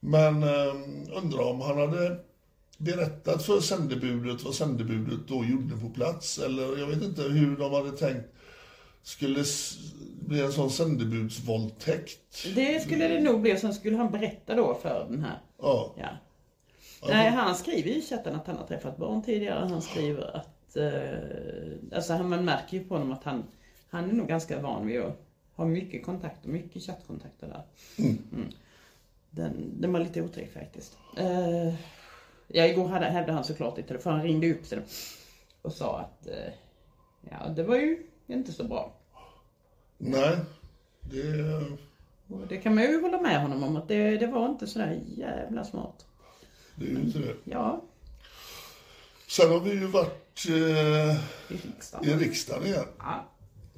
Men eh, undrar om han hade berättat för sändebudet vad sändebudet då gjorde på plats. Eller jag vet inte hur de hade tänkt skulle s- bli en sån sändebudsvåldtäkt.
Det skulle det nog bli och sen skulle han berätta då för den här.
Ja.
Ja. Nej, han skriver ju i chatten att han har träffat barn tidigare. Han skriver att, eh, alltså han- man märker ju på honom att han, han är nog ganska van vid att ha mycket kontakter, mycket chattkontakter där. Mm. Den, den var lite otäck faktiskt. Eh, ja, igår hade, hävdade han såklart i telefon, han ringde upp till dem och sa att, eh, ja det var ju inte så bra.
Nej, det...
Och det kan man ju hålla med honom om att det, det var inte sådär jävla smart.
Det är ju inte det.
Ja,
Sen har vi ju varit eh,
i riksdagen.
i riksdagen igen.
Ja.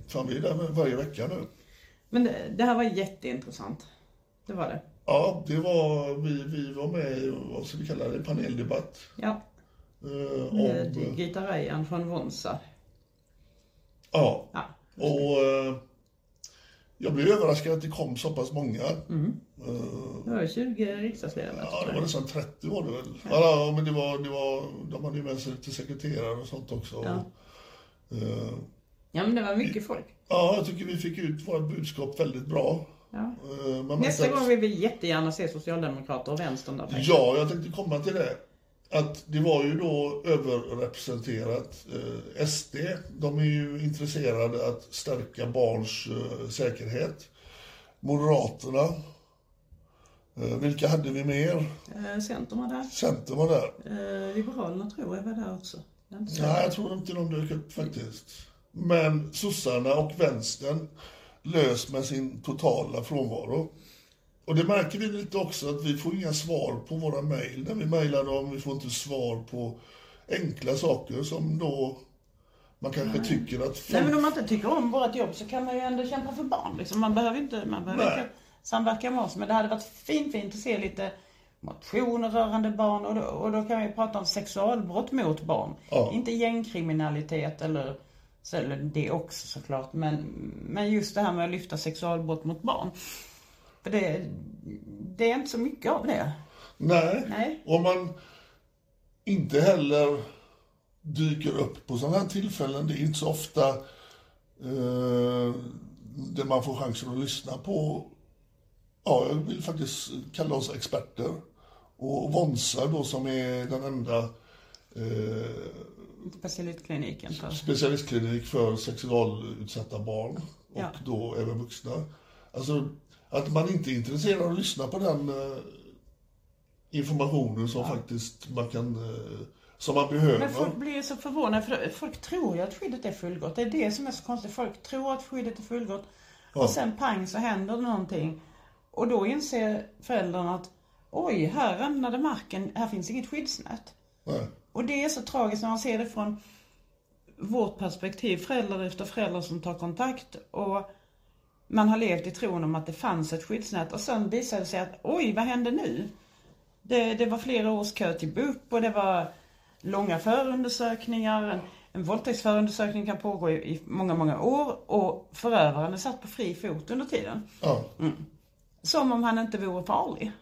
Fan, vi är där varje vecka nu.
Men det, det här var jätteintressant. Det var det.
Ja, det var... Vi, vi var med i, vad ska vi kalla det, paneldebatt.
Ja.
Eh,
Med
om...
Gita Rajan från Vonsa.
Ja.
Ja.
Och eh, jag blev överraskad att det kom så pass många.
Det var ju 20 riksdagsledamöter.
Ja, det
tror
var
jag.
nästan 30 var det väl. Ja, ja, men det var, det var, de hade ju med sig lite sekreterare och sånt också.
Ja.
Eh,
ja, men det var mycket folk.
Ja, jag tycker vi fick ut våra budskap väldigt bra.
Ja.
Eh, Man märkte
Nästa
att-
gång vill vi jättegärna se Socialdemokrater och Vänstern där faktiskt.
Ja, jag tänkte komma till det. Att det var ju då överrepresenterat eh, SD. De är ju intresserade att stärka barns eh, säkerhet. Moderaterna. Eh, vilka hade vi mer?
Eh, Centern var där.
Centern var där.
Eh, Liberalerna tror jag var där också. Jag är inte säker.
Nej, jag tror inte de dök upp faktiskt. Men sossarna och vänstern lös med sin totala frånvaro. Och det märker vi lite också att vi får inga svar på våra mejl när vi mejlar dem. Vi får inte svar på enkla saker som då man kanske tycker att folk...
Nej, men om man inte tycker om vårt jobb så kan man ju ändå kämpa för barn. Liksom. Man behöver inte, man behöver
Nej.
inte samverka med oss. Men det hade varit fint, fint att se lite motioner rörande barn och då, och då kan vi prata om sexualbrott mot barn.
Ja.
Inte gängkriminalitet eller, så- eller det också såklart men, men just det här med att lyfta sexualbrott mot barn. För det, det är inte så mycket av det.
Nej.
Nej.
Och man inte heller dyker upp på sådana här tillfällen. Det är inte så ofta eh, där man får chansen att lyssna på, ja, jag vill faktiskt kalla oss experter. Och Vonsa då som är den enda eh,
Specialistkliniken. För.
specialistklinik för sexualutsatta barn och
Ja.
då även vuxna. Alltså att man inte är intresserad av att lyssna på den eh, informationen som faktiskt man kan, eh, som man behöver.
Men folk blir ju så förvånade för folk tror ju att skyddet är fullgott. Det är det som är så konstigt. Folk tror att skyddet är fullgott och sen pang så händer det någonting. Och då inser föräldrarna att oj, här ramlade marken, här finns inget skyddsnät.
Nej.
Och det är så tragiskt när man ser det från vårt perspektiv, föräldrar efter föräldrar som tar kontakt och man har levt i tron om att det fanns ett skyddsnät och sen visar det sig att oj, vad hände nu? Det, det var flera års kö till BUP och det var långa förundersökningar. En, en våldtäktsförundersökning kan pågå i, i många, många år och förövaren är satt på fri fot under tiden.
Ja.
Som om han inte vore farlig.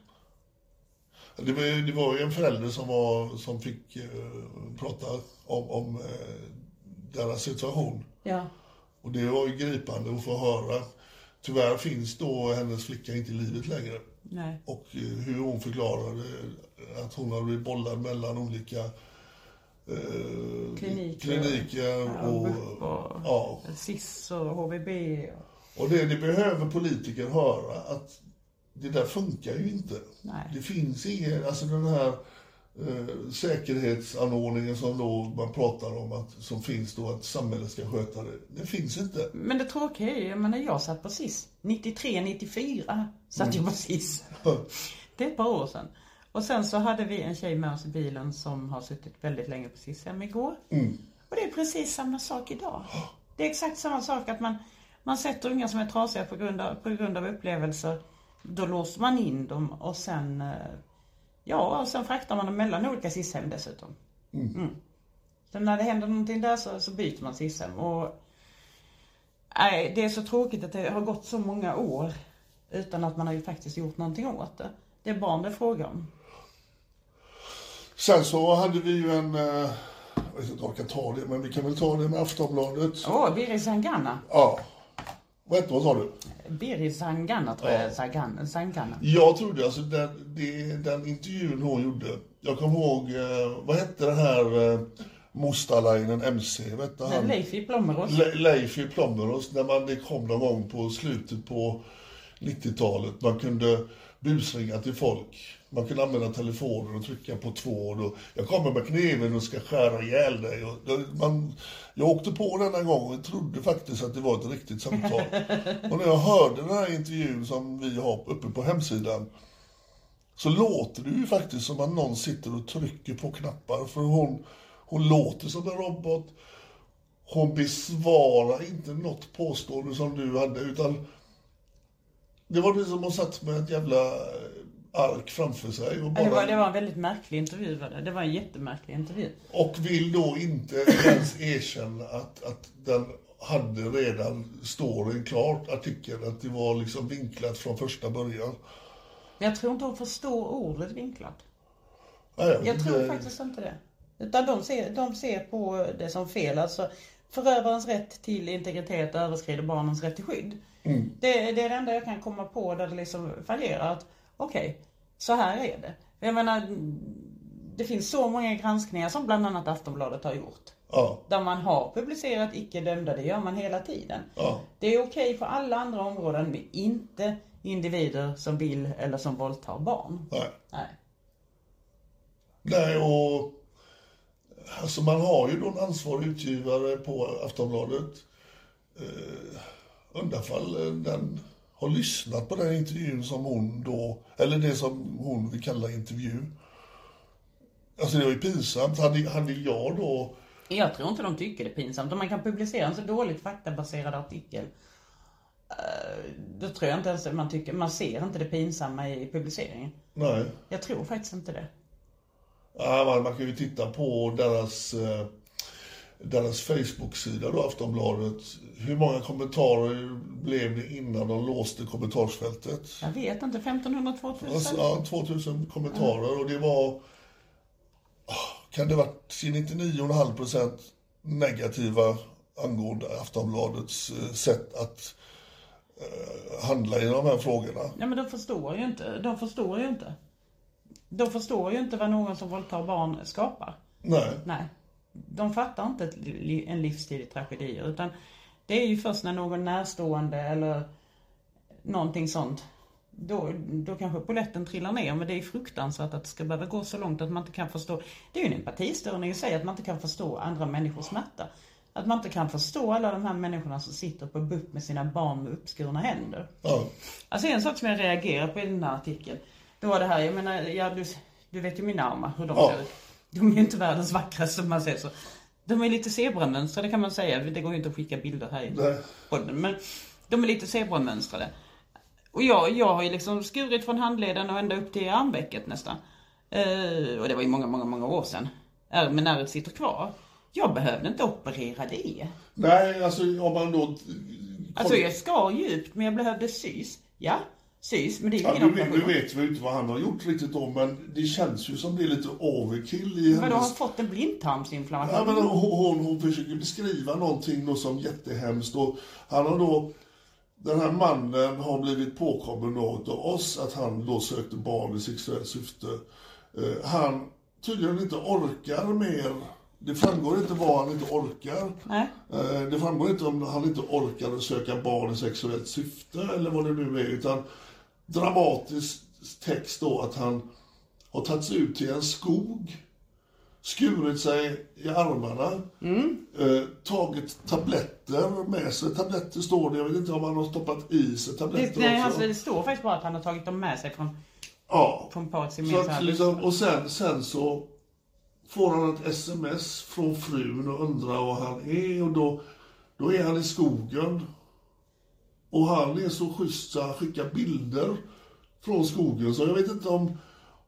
Det, var, ju- det var ju en förälder som, var, som fick eh, prata om, om eh, deras situation.
Ja.
Och det var ju gripande att få höra. Tyvärr finns då hennes flicka inte i livet längre.
Nej.
och eh, hur hon förklarade att hon hade blivit bollad mellan olika eh,
Kliniker.
kliniker och,
och-
ja.
SIS och HVB. Och,
och det, det behöver politiker höra att det där funkar ju inte.
Nej.
Det finns ingen, alltså den här eh, säkerhetsanordningen som då man pratar om att, som finns då att samhället ska sköta det. Det finns inte.
Men det tråkiga är ju, jag menar jag satt på SIS. 93, 94 satt jag på SIS. Det är ett par år sedan. Och sen så hade vi en tjej med oss i bilen som har suttit väldigt länge på SIS hem igår. Och det är precis samma sak idag. Det är exakt samma sak att man, man sätter unga som är trasiga på grund, av, på grund av upplevelser. Då låser man in dem och sen, eh, ja, och sen fraktar man dem mellan olika SIS-hem dessutom. Mm. Så när det händer någonting där så, så byter man SIS-hem. Och Nej, det är så tråkigt att det har gått så många år utan att man har ju faktiskt gjort någonting åt det. Det är barn det är fråga om.
Sen så hade vi ju en, eh, jag vet inte om jag kan ta det, men vi kan väl ta det med Aftonbladet.
Åh, Biri Sangana.
Ja. Vad hette hon sa du?
Biri Sangana tror jag. Sangana. Sangana.
Jag trodde alltså den, det, den intervjun hon gjorde. Jag kommer ihåg, eh, vad hette den här eh, Mustalainen MC? Vet du, han?
Leif i Plommerås.
Le, Leif i Plommerås. När man, det kom någon gång på slutet på 90-talet. Man kunde busringa till folk. Man kunde använda telefoner och trycka på två. Och då, jag kommer med kniven och ska skära ihjäl dig. Och, då- man, jag åkte på den en gång och trodde faktiskt att det var ett riktigt samtal. och när jag hörde den här intervjun som vi har uppe på hemsidan så låter det ju faktiskt som att någon sitter och trycker på knappar. För hon, hon låter som en robot. Hon besvarar inte något påstående som du hade, utan det var det som hon satt med ett jävla eh, ark framför sig och,
Ja, Det var, det
bara,
var en väldigt märklig intervju var det. Det var en jättemärklig intervju.
och vill då inte ens erkänna att, att den hade redan storyn klart, artikeln, att det var liksom vinklat från första början.
Men jag tror inte hon förstår ordet vinklat.
Nej,
Jag
vet
tror
inte.
faktiskt inte det. Utan de ser, de ser på det som fel. Alltså förövarens rätt till integritet överskrider barnens rätt till skydd. Det, det är det enda jag kan komma på där det liksom fallerar. att Okej, så här är det. Jag menar, det finns så många granskningar som bland annat Aftonbladet har gjort.
Ja.
Där man har publicerat icke dömda, det gör man hela tiden.
Ja.
Det är okej på alla andra områden men inte individer som vill eller som våldtar barn.
Nej.
Nej.
Nej, och alltså man har ju då en ansvarig utgivare på Aftonbladet. Eh, undrar ifall eh, den har lyssnat på den intervjun som hon då, eller det som hon vill kalla intervju. Alltså det var ju pinsamt. Hade, hade jag då,
Jag tror inte de tycker det är pinsamt. Om man kan publicera en så dåligt faktabaserad artikel eh, Då tror jag inte ens att man tycker, man ser inte det pinsamma i publiceringen.
Nej.
Jag tror faktiskt inte det.
Ja, man, man kan ju titta på deras, eh, deras Facebook-sida då, Aftonbladet. Hur många kommentarer blev det innan de låste kommentarsfältet?
Jag vet inte, 1500, 2000?
Alltså, ja, 2000 kommentarer och det var... Ah, Kan det varit 99,5 procent negativa angående Aftonbladets eh, sätt att eh, handla i de här frågorna?
Ja men de förstår ju inte, de förstår ju inte. De förstår ju inte vad någon som våldtar barn skapar.
Nej.
Nej. De fattar inte ett li- en livsstil i tragedier utan det är ju först när någon närstående eller någonting sånt då, då kanske polletten trillar ner men det är fruktansvärt att det ska behöva gå så långt att man inte kan förstå. Det är ju en empatistörning i sig att man inte kan förstå andra människors smärta. Att man inte kan förstå alla de här människorna som sitter på BUP med sina barn med uppskurna händer.
Ja.
Alltså en sak som jag reagerar på i den här artikeln. Det var det här, jag menar, ja, du, du vet ju mina armar, hur de
Ja.
ser ut. De är ju inte världens vackraste om man säger så. De är lite zebramönstrade kan man säga. Det går ju inte att skicka bilder här i
Nej.
podden. Men de är lite zebramönstrade. Och jag, jag har ju liksom skurit från handleden och ända upp till armvecket nästan. Eh, och det var ju många, många, många år sedan. Är- Men ärret sitter kvar. Jag behövde inte operera det.
Nej, alltså om man då...
Alltså jag skar djupt men jag behövde sys. Ja, sys. Men det är ju
Ja,
ingen
nu, vet-
operation.
nu vet vi ju inte vad han har gjort riktigt då, men det känns ju som det är lite overkill i
Vadå, har hon
hennes...
fått en blindtarmsinflammation?
Ja, men hon, hon, hon försöker beskriva någonting då som jättehemskt och han har då... Den här mannen har blivit påkommen då utav oss att han då sökte barn i sexuellt syfte. Eh, Han tydligen inte orkar mer. Det framgår inte vad han inte orkar.
Nej.
Eh, Det framgår inte om han inte orkade söka barn i sexuellt syfte eller vad det nu är, utan dramatisk text då att han har tagits ut till en skog, skurit sig i armarna,
Mm.
eh, tagit tabletter med sig. Tabletter står det, jag vet inte om han har stoppat i sig
Det,
tabletter
nej,
också.
alltså, det står faktiskt bara att han har tagit dem med sig från,
ja.
från parets
Så
gemensamma...
att, liksom, och sen, sen så får han ett sms från frun och undrar var han är och då, då är han i skogen. Och han är så schysst så han skickar bilder från skogen. Så jag vet inte om,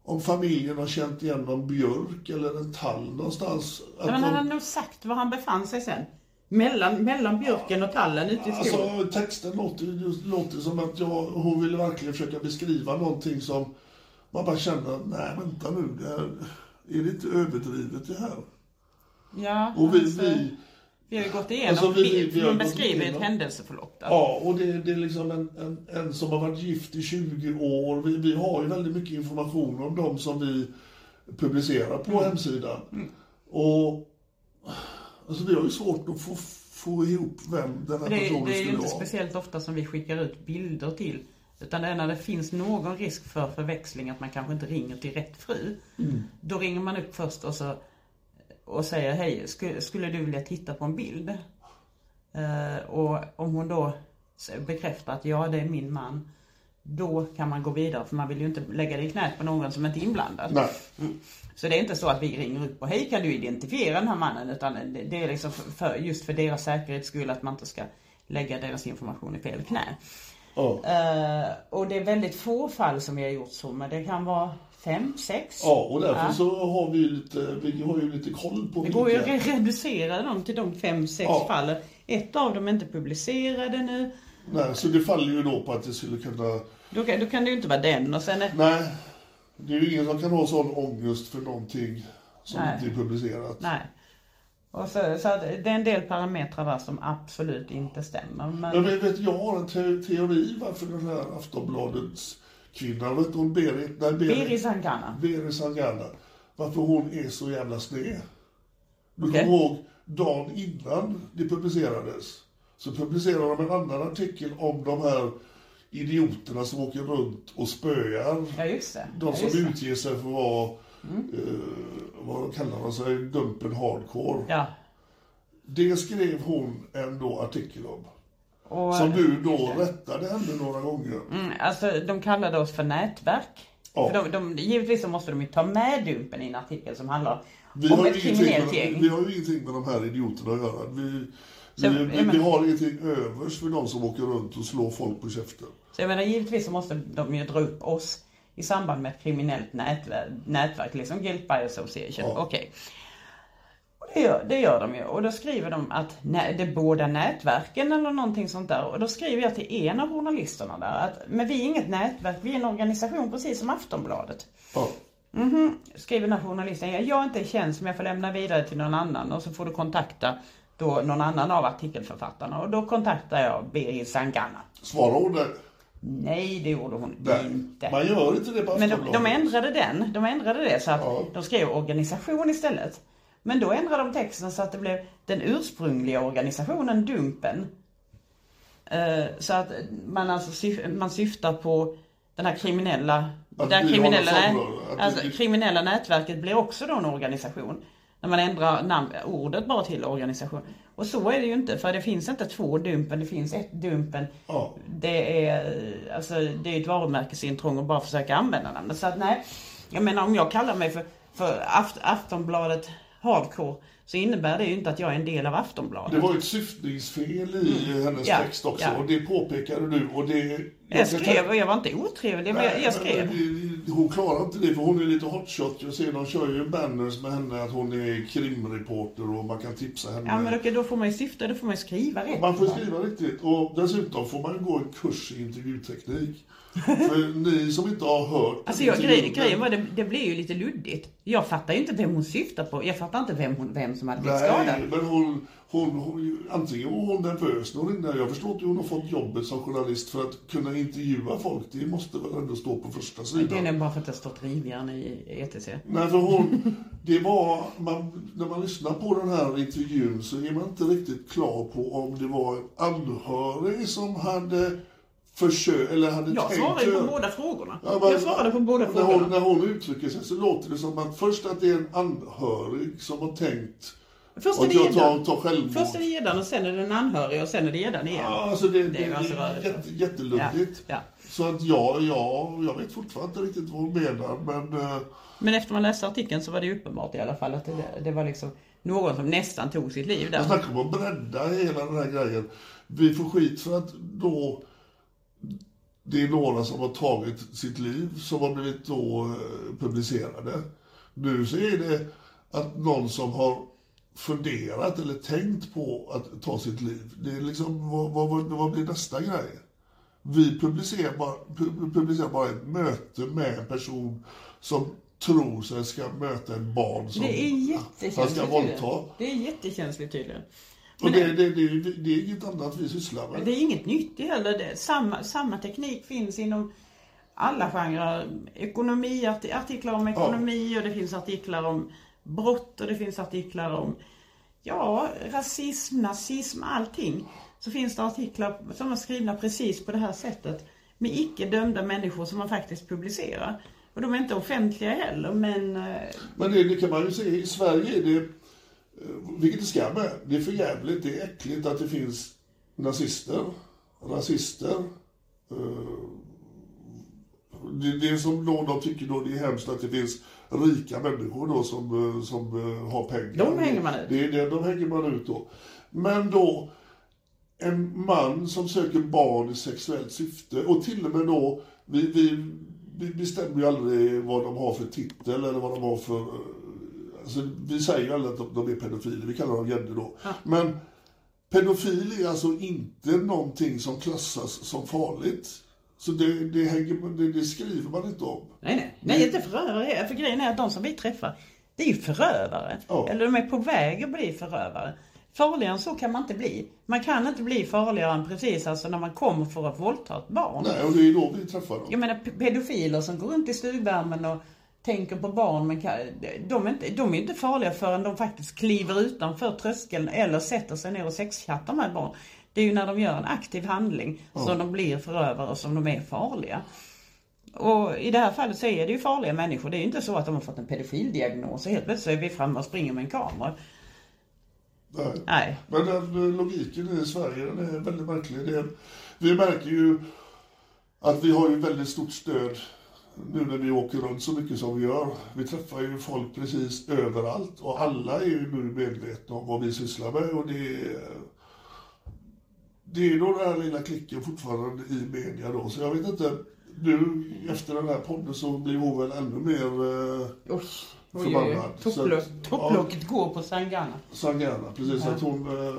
om familjen har känt igen någon björk eller en tall någonstans. Att
Nej, men han
de-
hade nog sagt var han befann sig sen. Mellan, mellan björken och tallen ute i skogen.
Alltså texten låter, ju- låter som att jag, hon ville verkligen försöka beskriva någonting som man bara känner att nej vänta nu, det här, är det inte överdrivet det här?
ja,
Och vi,
alltså,
vi
vi har ju gått igenom,
Alltså, vi-
vi,
vi har
de
gått
beskriver ett
igenom.
händelseförlopp där.
ja och det, det är liksom en, en, en som har varit gift i 20 år. Vi, vi har ju väldigt mycket information om dem som vi publicerar på
Mm.
hemsidan. Och alltså vi har ju svårt att få, få ihop vem den här
det,
personen
det är ju
skulle
inte
vara.
speciellt ofta som vi skickar ut bilder till. Utan det är när det finns någon risk för förväxling att man kanske inte ringer till rätt fru.
Mm.
Då ringer man upp först och, så, och säger hej, skulle, skulle du vilja titta på en bild? Eh, och om hon då s- bekräftar att ja, det är min man. Då kan man gå vidare för man vill ju inte lägga det i knät på någon som inte är inblandad. Mm.
Nej.
Så det är inte så att vi ringer upp och hej kan du identifiera den här mannen utan det, det är liksom för, för, just för deras säkerhets skull att man inte ska lägga deras information i fel knä.
Ja.
Eh, och det är väldigt få fall som vi har gjort så men det kan vara fem, sex.
Ja, och därför
Ja.
så har vi ju lite, vi har ju lite koll på
Det går ju att
vilka-
re- reducera dem till de fem, sex
Ja.
fallen. Ett av dem är inte publicerade nu.
Nej, så det faller ju då på att det skulle kunna...
Då kan, då kan det ju inte vara den och sen är,
Nej, det är ju ingen som kan ha sån ångest för någonting som
Nej.
inte är publicerat.
Nej. Och så, så att det är en del parametrar där som absolut inte stämmer. Men...
Men vet, vet, jag har en te- teori varför den här Aftonbladets kvinnan, vet hon Berit, nej Berit,
Berit Sangana.
Berit Sangana, varför hon är så jävla sned. Du
Okej.
kommer ihåg dagen innan det publicerades så publicerade de en annan artikel om de här idioterna som åker runt och spöar.
Ja just det.
De
ja,
som
just det. Mm.
utger sig för att vara, eh, vad kallar de sig, dumpen hardcore.
Ja.
Det skrev hon en då artikel om.
Och,
Som du då rättade henne några gånger.
mm, alltså de kallade oss för nätverk.
Ja.
För de, de, givetvis så måste de ju ta med Dumpen i en artikel som handlar
Vi
om
har, ju
ett
ingenting med,
kriminellt
vi,
gäng.
vi har ju ingenting med de här idioterna att göra. Vi,
Så jag,
vi,
jag
vi, vi
menar-
har ingenting övers för de som åker runt och slår folk på käften.
Så jag menar givetvis så måste de ju dra upp oss i samband med ett kriminellt nätverk, nätverk liksom Guilt by Association.
Ja.
Okej. Och Det gör, det gör de ju och då skriver de att nä, det är båda nätverken eller någonting sånt där och då skriver jag till en av journalisterna där att men vi är inget nätverk, vi är en organisation precis som Aftonbladet.
Ja.
Skriver den här journalisten, jag är inte känd som jag får lämna vidare till någon annan och så får du kontakta då någon annan av artikelförfattarna och då kontaktar jag Birgit Sangana.
Svara ordet.
Nej, det gjorde hon
Nej.
inte.
Man gör inte det på
Mm, Men de, de
Aftonbladet.
ändrade den. De ändrade det så att
Ja.
de skrev organisation istället. Men då ändrade de texten så att det blev den ursprungliga organisationen Dumpen. Eh, Så att man alltså syf- man syftar på den här kriminella,
Att
det här
vi
kriminella,
håller
nä-
samlag, att
alltså,
vi-
kriminella nätverket blir också då en organisation. När man ändrar namn, ordet bara till organisation. Och så är det ju inte för det finns inte två Dumpen, det finns ett Dumpen.
Ja.
Det är, alltså, det är ett varumärkesintrång att bara försöka använda namnet. Så att nej, jag menar om jag kallar mig för, för Aft- Aftonbladet Hardcore så innebär det ju inte att jag är en del av
Det
Aftonbladet.
var ju ett syftningsfel i hennes
Mm. Ja,
text också
ja.
och det påpekade du och det...
Jag skrev och jag var inte otrevlig, men jag, jag skrev.
Men Hon klarar inte det för hon är lite hotshot. Jag ser de kör ju banners med henne att hon är krimreporter och man kan tipsa henne.
Ja men då, då får man ju syfta, då får man ju skriva rätt.
Man får skriva riktigt och dessutom får man ju gå en kurs i intervjuteknik. För ni som inte har hört
Alltså jag,
intervjun-
grej, grejen var, det, det blev ju lite luddigt. Jag fattar ju inte vem hon syftar på. Jag fattar inte vem, hon, vem som hade blivit skadad.
Nej, men hon, hon, hon, antingen var hon nervös när hon ringde. Jag förstår inte hur hon har fått jobbet som journalist för att kunna intervjua folk. Det måste väl ändå stå på första sidan.
Det är nog bara för att det har stått rivjärn i E ETC.
Nej, för hon, det var, man, när man lyssnar på den här intervjun så är man inte riktigt klar på om det var en anhörig som hade försökt, eller hade
Jag
tänkt
svarade ju på
göra-
båda frågorna.
Ja, men-
Jag svarade på båda
när hon,
frågorna.
när hon uttrycker sig så låter det som att först att det är en anhörig som har tänkt
Först är
att
det
jag tar,
gäddan.
tar självmord.
Först är det gäddan och sen är det den anhöriga och sen är det gäddan igen.
Ja, alltså det, det,
Det är
är
ganska rörigt.
jätte, jätteluddigt.
Ja, ja.
Så att ja, ja, jag vet fortfarande inte riktigt vad hon menar, men eh,
Men efter man läste artikeln så var det ju uppenbart i alla fall att det, det var liksom någon som nästan tog sitt liv
jag
där.
snackar om att bredda hela den här grejen. Vi får skit för att då det är några som har tagit sitt liv som har blivit då eh, publicerade. Nu så är det att någon som har funderat eller tänkt på att ta sitt liv. Det är liksom, vad, vad, vad, vad blir nästa grej? Vi publicerar bara, pu- publicerar bara ett möte med en person som tror sig ska möta ett barn som
Det är
han ska
jättekänsligt
våldta.
tydligen. Det är jättekänsligt tydligen.
Och det, det, det, det, det är inget annat vi sysslar med.
Det är inget nytt det heller. Det, samma, samma teknik finns inom alla genrer. Ekonomi, arti- artiklar om ekonomi och det finns artiklar om brott och det finns artiklar om ja, rasism, nazism, allting. Så finns det artiklar som är skrivna precis på det här sättet med icke dömda människor som man faktiskt publicerar. Och de är inte offentliga heller men eh,
Men det, det kan man ju se, i Sverige är det, eh, vilket det skam är, det är för jävligt, det är äckligt att det finns nazister, rasister. eh, Det, det är som då de tycker då det är hemskt att det finns rika människor då som, eh, som eh, har pengar.
De hänger man ut.
Det är det, de hänger man ut då. Men då, en man som söker barn i sexuellt syfte och till och med då, vi, vi, vi bestämmer ju aldrig vad de har för titel eller vad de har för... eh, Alltså, vi säger ju aldrig att de, de är pedofiler, vi kallar dem gädder då. Men pedofil är alltså inte någonting som klassas som farligt. Så det, det, hänger, det, det skriver man inte om.
Nej, nej. Nej, inte förövare. För grejen är att de som vi träffar, det är ju förövare.
Ja.
Eller de är på väg att bli förövare. Farligare än så kan man inte bli. Man kan inte bli farligare än precis alltså när man kommer för att våldta ett barn.
Nej, och det är då vi träffar dem.
Jag menar pe- pedofiler som går runt i stugvärmen och tänker på barn, men kan, de, är inte, de är inte farliga förrän de faktiskt kliver utanför tröskeln eller sätter sig ner och sexchattar med barn. Det är ju när de gör en aktiv handling som de blir förövare och som de är farliga. Och i det här fallet så är det ju farliga människor. Det är ju inte så att de har fått en pedofildiagnos och helt plötsligt så är vi framme och springer med en kamera.
Nej.
Nej.
Men den eh, logiken i Sverige den är väldigt märklig. Det, vi märker ju att vi har ju väldigt stort stöd nu när vi åker runt så mycket som vi gör. Vi träffar ju folk precis överallt och alla är ju nu medvetna om vad vi sysslar med och det är, det är ju då den här lilla klicken fortfarande i media då, så jag vet inte. Nu efter den här podden så blir hon väl ännu mer eh,
Oj, oj, oj.
förbannad. Så att-
Topplo- Topplocket går på Sangana.
Sangana, precis. Att hon, eh,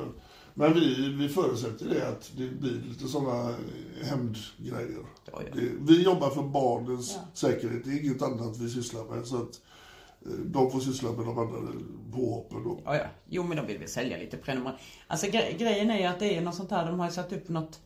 men vi, vi förutsätter det att det blir lite sådana hämndgrejer.
Ja, ja.
Det- Vi jobbar för barnens säkerhet. Det är inget annat vi sysslar med. Så att eh, de får syssla med de andra påhoppen då.
Ja, ja. Jo, men de vill väl sälja lite prenumeration. Alltså gre- grejen är ju att det är något sånt här, de har ju satt upp något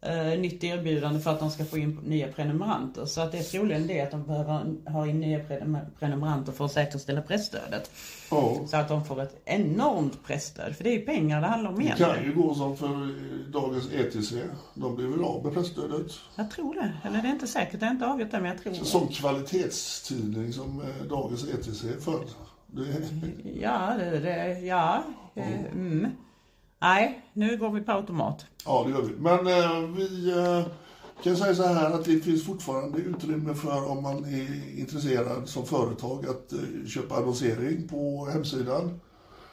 eh, nytt erbjudande för att de ska få in nya prenumeranter. Så att det är troligen det att de behöver ha in nya prenum- prenumeranter för att säkerställa pressstödet.
Ja.
Så att de får ett enormt pressstöd. För det är ju pengar det handlar om
Det kan
egentligen.
ju gå som för eh, dagens ETC. De blir väl av med presstödet.
Jag tror det. Eller det är inte säkert, det är inte avgjort än, men jag tror det.
Som kvalitetstidning som eh, dagens ETC förr. Det,
Mm. Ja, det, det, ja. eh, Mm. Nej, nu går vi på automat.
Ja, det gör vi. Men eh, vi eh, kan säga så här att det finns fortfarande utrymme för om man är intresserad som företag att eh, köpa annonsering på hemsidan.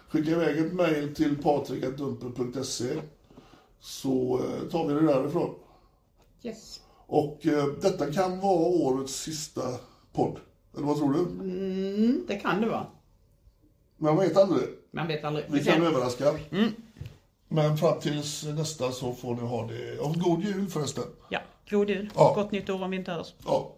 Skicka iväg ett mejl till patrikatdumper.se så eh, tar vi det därifrån.
Yes.
Och eh, detta kan vara årets sista podd. Eller vad tror du?
Mm, det kan det vara.
Men man vet aldrig.
Man vet aldrig.
Vi kan överraska. Men fram tills nästa så får ni ha det. Och god jul förresten.
Ja, god jul.
Ja.
Gott nytt år om vi inte hörs.
Ja.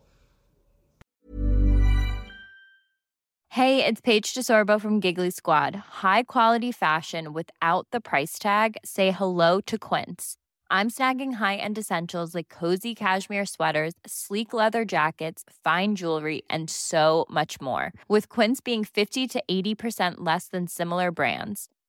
Hey, it's Paige DeSorbo from Giggly Squad. High quality fashion without the price tag. Say hello to Quince. I'm snagging high-end essentials like cozy cashmere sweaters, sleek leather jackets, fine jewelry, and so much more. With Quince being 50 to 80% less than similar brands.